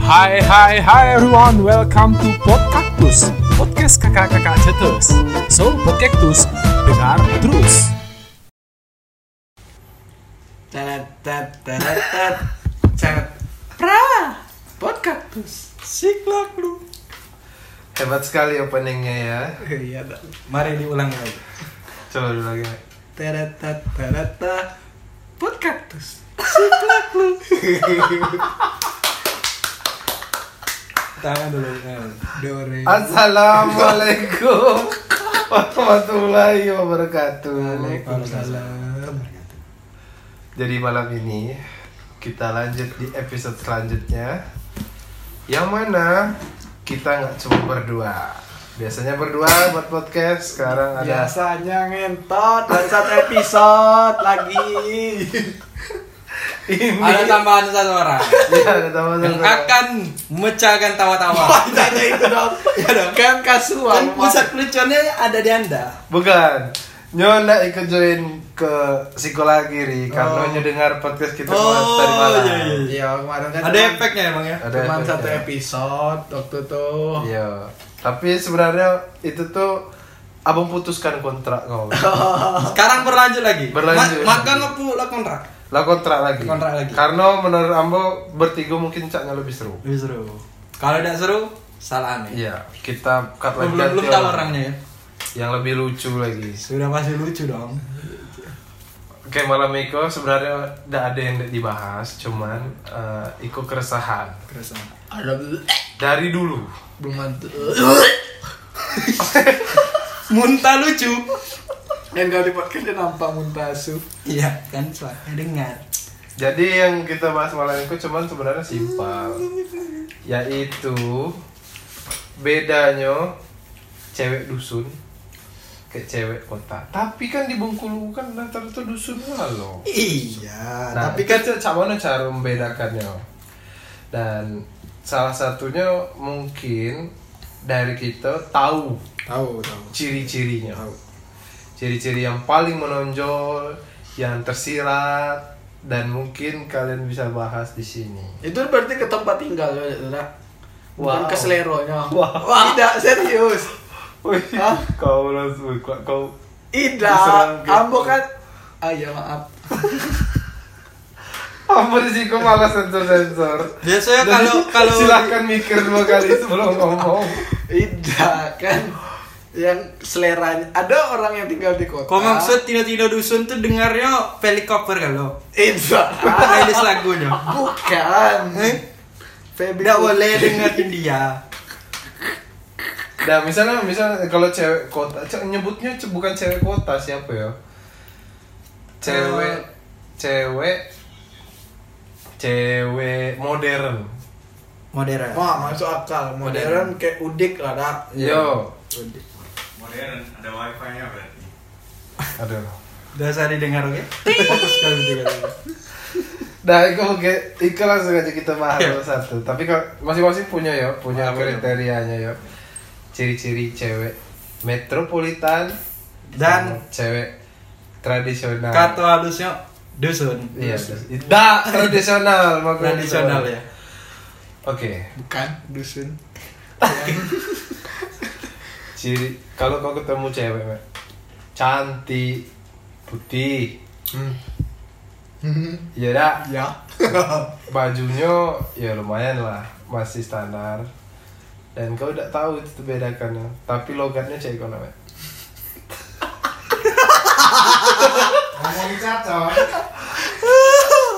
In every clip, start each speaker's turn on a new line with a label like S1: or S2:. S1: Hai hai hai everyone, welcome to Podcactus Podcast kakak-kakak cetus So, Podcactus, dengar terus
S2: Tenet, tet, tenet, tet. Cet. Pra. Podcactus. Siklak lu.
S3: Hebat sekali openingnya ya.
S2: Iya, Bang. Mari diulang lagi.
S3: Coba dulu lagi.
S2: Tenet, tet, tenet, tet. Podcactus. Siklak lu. Tangan dulu, tangan. Dore.
S3: Assalamualaikum warahmatullahi wabarakatuh.
S2: Waalaikumsalam.
S3: Jadi malam ini kita lanjut di episode selanjutnya yang mana kita nggak cuma berdua. Biasanya berdua buat podcast, sekarang ada
S2: Biasanya ngentot dan satu episode lagi.
S3: ini.
S4: Ada tambahan satu orang
S3: Ya, ada tambah
S4: Iya. yang akan memecahkan tawa-tawa.
S2: Tanya itu dong.
S4: Iya
S2: Ya dong. Kan kasual.
S4: Dan pusat kelucuannya ada di anda.
S3: Bukan. Nyona ikut join ke psikologi Ri,
S2: Oh.
S3: karena nyonya dengar podcast kita kemarin tadi malam.
S4: Oh, iya, iya.
S2: Iya, kemarin kan
S4: Ada
S2: cuman-
S4: efeknya emang ya.
S3: Ada
S2: Cuman
S3: efeknya.
S2: satu episode waktu itu.
S4: Oh.
S3: Iya. Tapi sebenarnya itu tuh abang putuskan kontrak kau.
S4: Iya. Sekarang berlanjut lagi.
S3: Berlanjut.
S4: Ma- maka ngepu lah kontrak.
S3: Lah kontrak lagi.
S4: Kontrak lagi.
S3: Karena menurut ambo bertiga mungkin caknya lebih seru.
S4: Lebih seru. Kalau tidak seru, salah aneh.
S3: Iya, kita cut lagi
S4: Belum belum, belum
S3: ganti
S4: tahu
S3: orang.
S4: orangnya ya.
S3: Yang lebih lucu lagi.
S4: Sudah pasti lucu dong.
S3: Oke, malam Iko sebenarnya tidak ada yang dibahas, cuman eh, Iko keresahan
S4: Terus apa?
S2: Ada
S3: dari dulu.
S2: belum mantu.
S4: Muntah lucu.
S2: Dan kalau di podcast dia nampak muntasu.
S4: Iya kan suaranya dengar.
S3: Jadi yang kita bahas malam itu cuman sebenarnya simpel, yaitu bedanya cewek dusun ke cewek kota. Tapi kan di Bengkulu kan latar itu dusun loh.
S4: Iya.
S3: Nah, tapi
S4: tapi
S3: kan ca- mana cara membedakannya? Dan salah satunya mungkin dari kita tahu
S4: tahu tahu.
S3: ciri-cirinya.
S4: Tahu.
S3: Ciri-ciri yang paling menonjol, yang tersirat dan mungkin kalian bisa bahas di sini.
S2: Itu berarti ke tempat tinggal ya, saudara. Bukan
S3: Wow.
S2: ke seleronya.
S3: Wow.
S2: Tidak serius.
S3: Wih,
S2: Hah?
S3: kau langsung kau, kau Diserang
S2: Tidak.
S3: gitu.
S2: Ambo kan. Ah ya maaf.
S3: hampir sih kau malah sensor-sensor.
S4: Biasanya
S3: Jadi,
S4: kalau kalau
S3: silahkan mikir dua kali sebelum ngomong.
S2: Tidak kan. Yang seleranya. Ada orang yang tinggal di kota.
S4: Kau maksud tidak-tidak dusun tuh dengarnya helikopter kalau.
S2: Tidak.
S4: Playlist lagunya.
S2: Bukan. Febri
S4: Eh? Tidak boleh dengerin dia.
S3: Nah, misalnya misalnya kalau cewek kota, ce- nyebutnya ce- bukan cewek kota siapa ya?
S4: Eh.
S3: Cewek cewek cewek modern.
S4: Modern.
S2: Wah, masuk akal. Modern kayak udik lah, dak.
S4: Iya.
S3: Yo.
S2: Udik.
S5: modern ada wifi nya berarti
S3: Aduh.
S4: Dasar didengar oke. Fokus kali tiga kali.
S3: Nah, itu oke, itu langsung aja kita bahas
S4: Iya.
S3: satu. Tapi kalau masing-masing punya ya, punya
S4: Ah, punya.
S3: kriterianya ya. Ciri-ciri cewek metropolitan
S4: Dan-
S3: sama cewek tradisional.
S4: Kata halusnya dusun.
S3: Iya, da tradisional iya. makanya.
S4: Tradisional ya.
S3: Oke,
S2: Bukan dusun.
S3: ciri kalau kau ketemu cewek Mek, cantik putih ya dah
S2: ya.
S3: bajunya ya lumayan lah masih standar dan kau udah tahu itu tuh bedakannya tapi logatnya cewek kau namanya
S5: ngomong cacon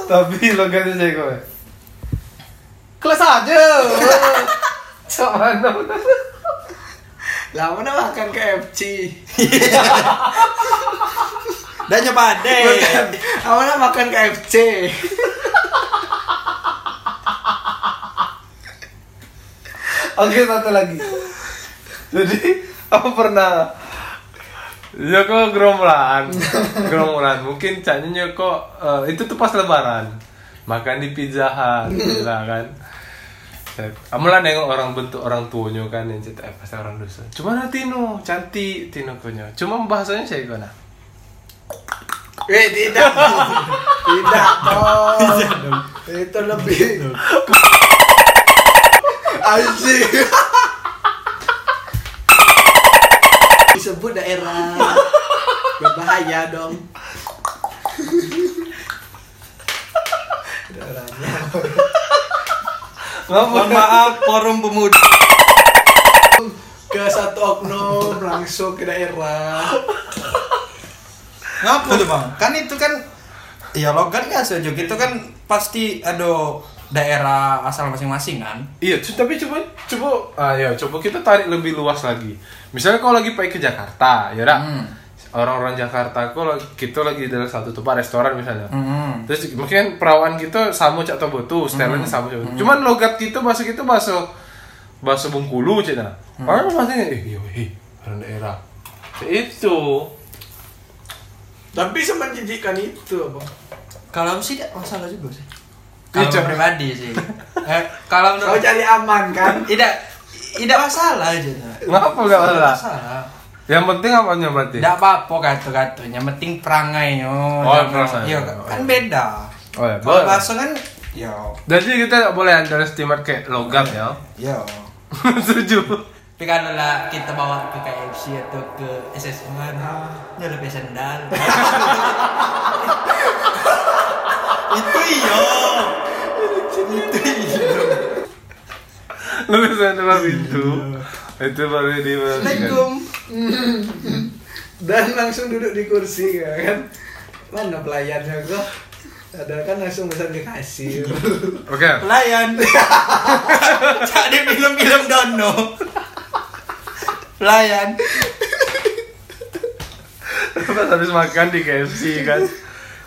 S3: tapi logatnya cewek kau Mek. kelas aja sama
S2: Lah mana makan KFC?
S4: Dan nyoba deh.
S2: Bukan. Lah mana makan KFC?
S3: Oke satu lagi. Jadi aku pernah Joko gerombolan, gerombolan. Mungkin canya Joko eh, itu tuh pas Lebaran makan di Pizza Hut, lah kan. Kamu lah nengok orang bentuk orang tuanya kan yang cerita eh, pasti orang dosa. Cuma nah, Tino cantik Tino konyo. Cuma bahasanya saya gimana?
S2: Eh, tidak. tidak dong. Itu lebih. anjing disebut daerah berbahaya dong
S3: Mohon
S4: maaf forum pemuda
S2: ke satu oknum langsung ke daerah
S4: ngapa tuh bang kan itu kan ya logan kan sejuk itu kan pasti ada daerah asal masing-masing kan
S3: Iya, cu- tapi coba coba ayo coba kita tarik lebih luas lagi. Misalnya kau lagi pergi ke Jakarta, ya udah.
S4: Hmm.
S3: Orang-orang Jakarta kau lagi- kita lagi dalam satu tempat restoran misalnya.
S4: hmm.
S3: Terus mungkin perawan kita sama cak atau botu, stylenya sama cak.
S4: Hmm.
S3: Cuman logat kita bahasa kita bahasa bahasa Bengkulu cak nah.
S4: Hmm.
S3: Orang pasti eh iya eh orang daerah. Itu
S2: tapi semenjijikan itu abang
S4: kalau aku sih tidak masalah juga sih
S3: Iya,
S4: kalau
S3: Cok. Oh,
S4: pribadi sih eh, kalau
S2: kau
S4: menurut
S2: cari aman kan
S4: tidak tidak masalah aja Cok.
S3: ngapa gak masalah?
S4: masalah
S3: Yang penting apanya berarti?
S4: tidak apa-apa kata-katanya penting perangainya
S3: Oh, perangai.
S4: iya kan beda
S3: Oh, ya,
S4: kalau
S3: boleh.
S4: bahasa kan ya
S3: Jadi kita nggak boleh underestimate kayak logam ya.
S4: ya
S3: Setuju.
S4: tapi kalau lah kita bawa ke KFC atau ke SSN ya lebih sendal itu iya itu iya
S3: lu bisa nembak pintu itu baru di
S4: Assalamualaikum
S2: dan langsung duduk di kursi kan mana pelayannya kok ada kan langsung pesan ke kasir
S3: oke
S4: pelayan cak di film-film dono pelayan
S3: pas habis makan di KFC kan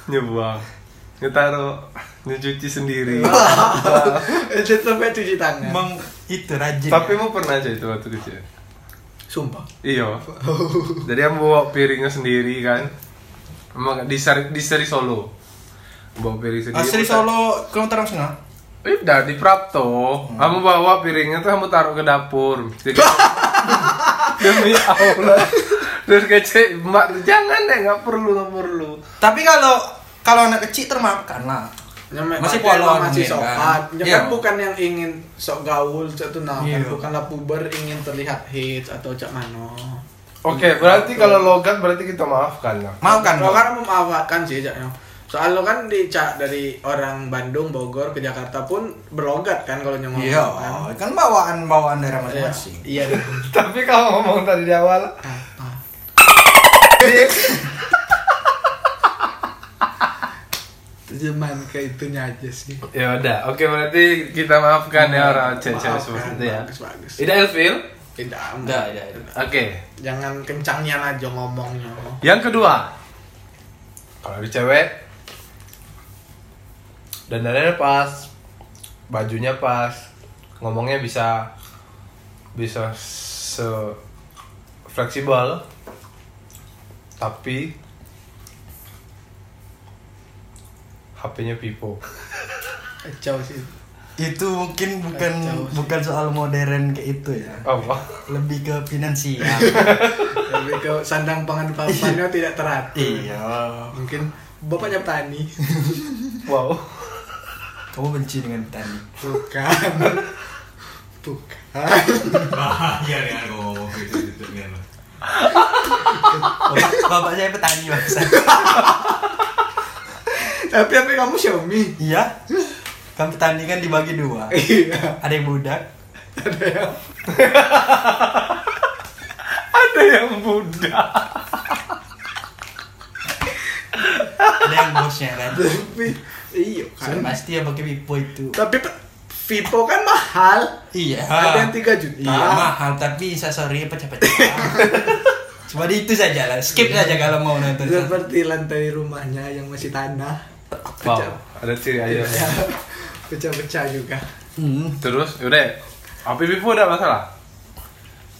S3: nyebuang nyetaro nyuci sendiri
S2: itu Eh, sampai cuci tangan
S4: emang itu rajin
S3: Ya. tapi
S4: ya?
S3: mu pernah aja itu waktu kecil
S2: sumpah
S3: iyo jadi yang bawa piringnya sendiri kan emang di seri, di seri Solo bawa piring sendiri Putar-
S4: asli Ah, Solo kamu terang setengah
S3: Eh, udah di Prapto kamu bawa piringnya tuh kamu taruh ke dapur Jadi- demi Allah terus kece mbak jangan deh nggak perlu nggak perlu
S4: tapi kalau kalau anak kecil termakan lah
S2: Nyemek
S4: Masih
S2: pakai
S4: polon,
S2: masih
S4: iya
S2: sopan
S4: kan?
S2: Ya
S4: Iya.
S2: kan bukan yang ingin sok gaul cak tuh nah
S4: Iya.
S2: kan bukanlah puber ingin terlihat hits atau cak mano
S3: Oke, berarti kalau logat berarti kita maafkan lah.
S4: mau kan
S2: lo
S4: Bang?
S2: kan memaafkan sih cak no. soal lo kan di cak dari orang Bandung Bogor ke Jakarta pun berlogat kan kalau nyongok
S4: Iya,
S2: kan
S4: kan bawaan bawaan daerah
S2: Iya.
S4: masing-masing.
S2: iya
S3: Tapi kalau ngomong tadi di awal,
S2: cuman ke itunya aja sih
S3: ya udah. Oke, berarti kita maafkan ya orang cewek-cewek
S2: Maafkan,
S3: seperti itu ya.
S2: kan, bagus bagus
S3: Ida Elvil.
S2: tidak
S4: Udah, udah, udah.
S3: Oke,
S2: jangan kencangnya aja ngomongnya
S3: yang kedua. Kalau di cewek dandanannya pas, bajunya pas, ngomongnya bisa bisa se fleksibel tapi HP-nya Vivo.
S2: kacau sih
S4: Itu mungkin bukan
S2: Kacau sih.
S4: bukan soal modern kayak itu ya.
S3: Apa?
S4: Lebih ke finansial.
S2: tapi kalau sandang pangan papannya tidak teratur
S4: iya.
S2: mungkin bapaknya petani
S3: Wow.
S4: Kamu benci dengan petani.
S2: bukan bukan
S5: Bahaya nih aku ngomong gitu-gitu nih.
S4: Bapak, Oh, bapak saya petani bangsa.
S2: tapi apa kamu Xiaomi
S4: iya. Kan petani kan dibagi dua.
S2: iya
S4: Ada yang budak.
S3: Ada yang muda.
S4: Ada yang bosnya kan.
S2: tapi iya
S4: Sudah
S2: kan
S4: pasti yang pakai Vivo itu.
S2: tapi pe- Vivo kan mahal
S4: Iya.
S2: ada yang 3 juta
S4: Iya mahal tapi aksesorisnya pecah-pecah. Cuma di itu saja lah. Skip saja kalau mau nonton.
S2: seperti lantai rumahnya yang masih tanah
S3: Wow.
S2: pecah
S3: Ada ciri aja.
S2: pecah-pecah juga
S4: Hmm.
S3: Terus, udah. HP Vivo udah masalah.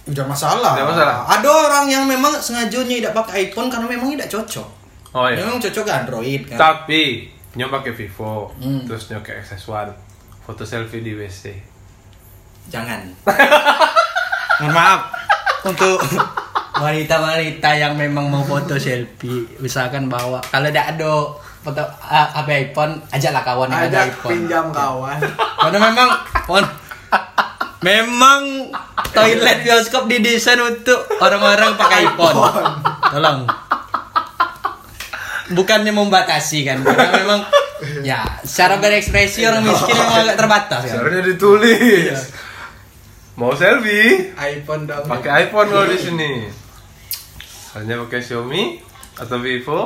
S4: Udah masalah.
S3: Udah masalah.
S4: Ada orang yang memang sengaja tidak pakai iPhone karena memang tidak cocok.
S3: Oh iya.
S4: Memang cocok ke Android kan.
S3: Tapi nyo pakai Vivo,
S4: Hmm.
S3: terus nyo ke aksesuar, foto selfie di WC.
S4: Jangan. Mohon maaf untuk wanita-wanita yang memang mau foto selfie misalkan bawa kalau tidak ada foto ah, HP iPhone ajaklah kawan yang ada
S2: ada
S4: iPhone.
S2: pinjam kawan
S4: Karena memang on Memang toilet bioskop didesain untuk orang-orang pakai iPhone. Tolong. Bukannya membatasi kan, karena memang ya secara berekspresi orang miskin memang agak terbatas kan.
S3: Seharusnya ditulis. Mau selfie?
S2: iPhone dong.
S3: Pakai iPhone kalau di sini. Hanya pakai Xiaomi atau Vivo.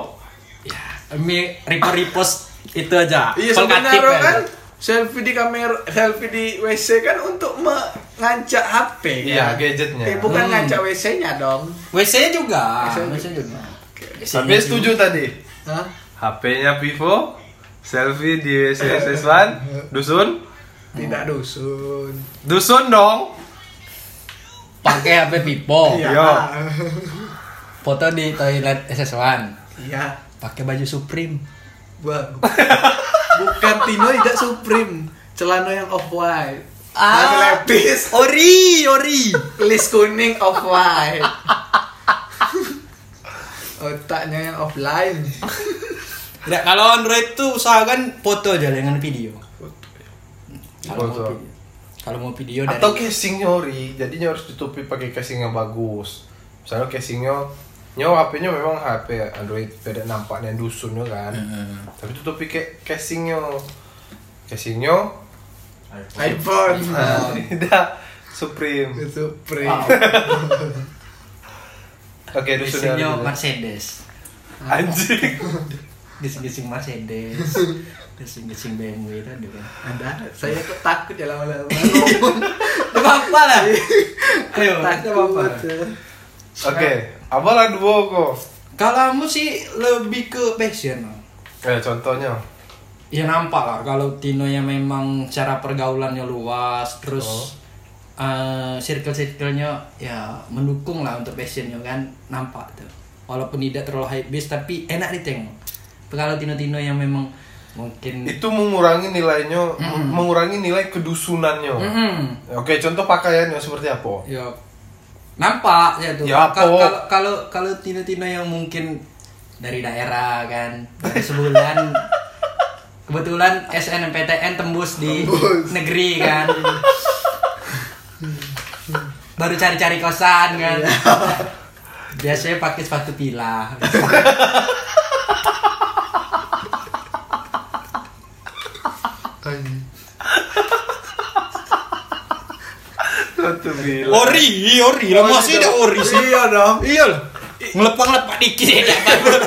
S4: Mi repo repost itu aja.
S2: Iya
S4: Kolkatif
S2: sebenarnya
S4: ya.
S2: kan selfie di kamera, selfie di WC kan untuk mengancak HP kan?
S3: Iya, gadgetnya.
S2: Eh, bukan ngancak WC-nya dong.
S4: WC-nya juga.
S2: WC
S4: WC-nya juga.
S3: Tapi setuju tadi.
S2: Hah?
S3: HP-nya Vivo, selfie di WC1, dusun,
S2: Tidak dusun.
S3: dusun dong.
S4: Pakai HP Vivo.
S2: Iya.
S3: Yo.
S4: Foto di toilet SS1.
S2: Iya.
S4: Pakai baju Supreme.
S2: Wah, Bukan Tino tidak Supreme. Celana yang off white.
S4: Ah.
S2: Celana lepis.
S4: Ori, ori.
S2: List kuning off white. Otaknya yang offline.
S4: Ya, kalau Android tuh usahakan foto aja jangan video. Kalau
S3: Foto.
S4: mau video. Kalau mau video dari
S3: Atau casingnya ori, jadinya harus ditutupi pakai casing yang bagus. Misalnya casingnya Nyo HP-nya memang HP Android beda nampaknya dusunnya kan.
S4: Hmm. eh,
S3: Tapi tutupi kayak casingnya. Casingnya
S2: iPhone.
S3: ah, tidak Supreme.
S2: Supreme.
S3: Oke, dusunnya.
S4: Isinya
S3: dulu.
S4: Mercedes.
S3: Anjing.
S4: Gising-gising Mercedes. Gising-gising BMW itu ada kan.
S2: Anda, saya kok takut ya lama-lama.
S4: Gak apa-apa lah. Ayo.
S2: takut.
S3: Oke, apalah dua kok.
S4: Kalau kamu sih lebih ke passion. Om.
S3: Eh, contohnya.
S4: Ya nampak lah kalau Tino yang memang cara pergaulannya luas terus eh, circle-circle-nya ya mendukung lah untuk passionnya kan nampak tuh. Walaupun tidak terlalu high base tapi enak ditengok. Tapi Kalau Tino-Tino yang memang mungkin
S3: Itu mengurangi nilainya, mengurangi nilai kedusunannya.
S4: Mm-mm.
S3: Oke, contoh pakaiannya seperti apa?
S4: ya nampak ya tuh.
S3: Ya, apa?
S4: Ka- Kalau kalau kalau Tino-Tino yang mungkin dari daerah kan dari sebulan kebetulan SNMPTN tembus di negeri kan baru cari-cari kosan kan biasanya pakai sepatu pila
S3: Satu bilang.
S4: ori ori lah masih ada ori sih
S2: Iya dong.
S4: iya lah ngelepang lepak dikit ya dapat.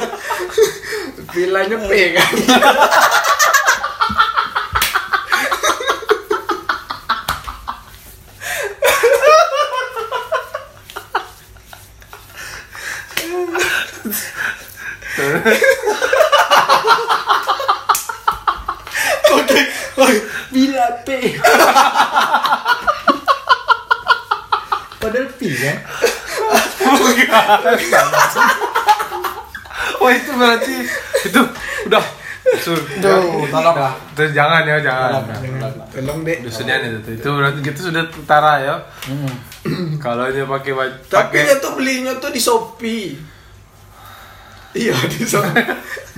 S2: Bilanya P kan.
S4: pila p padahal p
S2: ya?
S4: kan
S3: Wah Oh, itu berarti itu udah dusun.
S4: tuh tolong lah
S3: Terus jangan ya jangan.
S2: Tolong deh.
S3: Dusunnya itu tuh. itu berarti gitu sudah tentara ya. Kalau dia pakai baju-
S2: Tapi dia
S3: pakai
S2: tuh belinya tuh di Shopee. Iya di Shopee.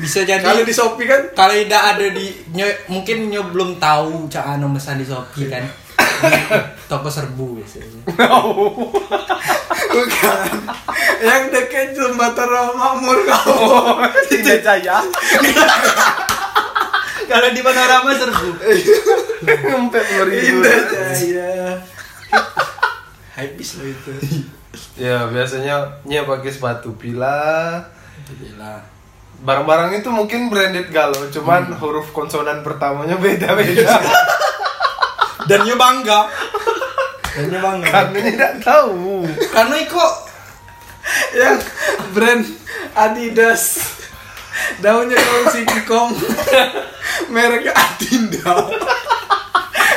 S4: bisa jadi
S2: Kalau di Shopee kan
S4: kalau tidak ada di Nyo- mungkin nyo belum tahu cara memesan di Shopee kan Di toko serbu biasanya
S2: bukan. Yang dekat jembatan Ramakmur kau.
S3: tidak jaya
S4: kalau di panorama serbu
S3: sampai beribu.
S2: Indah Jaya. Habis loh itu.
S3: Ya biasanya dia pakai sepatu pila.
S4: Gila.
S3: Barang-barang itu mungkin branded galau, cuman huruf konsonan pertamanya beda-beda.
S4: dan nyo bangga dan nyo bangga
S3: Karena tidak tahu.
S4: karena iko
S2: Yang brand Adidas. Daunnya daun singkong. Merek Adinda.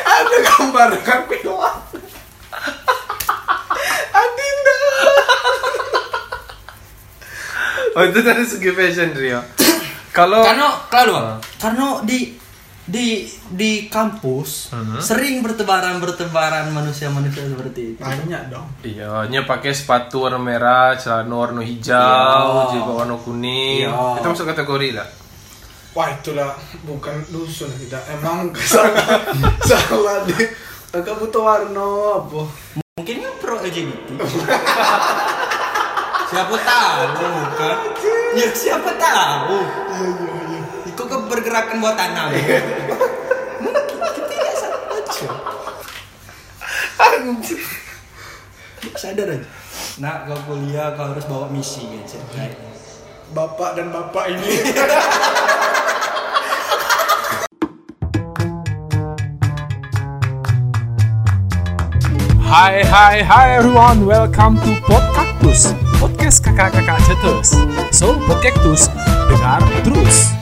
S2: Ada gambar kan keluar. Adinda.
S3: Oh itu dari segi fashion Rio. Kalau
S4: karena kalau karena di di di kampus sering bertebaran bertebaran manusia manusia seperti itu
S2: Banyak dong.
S3: Iya, nya pakai sepatu warna merah, celana warna hijau,
S4: Iya.
S3: jilbab warna kuning.
S4: Iya.
S3: Itu masuk kategori lah.
S2: Wah itulah bukan dusun tidak emang salah salah di Agak butuh warna apa?
S4: Mungkin ya pro LGBT.
S6: Siapa tahu kan?
S4: ya siapa tahu.
S2: Iya,
S6: Ikut ke pergerakan buat tanam.
S4: Sadar aja. Nak kau kuliah kau harus bawa misi gitu.
S2: Bapak dan bapak ini.
S1: Hi, hi, hi everyone, welcome to Podcactus Podcast kakak-kakak cetus So, Podcactus, dengar terus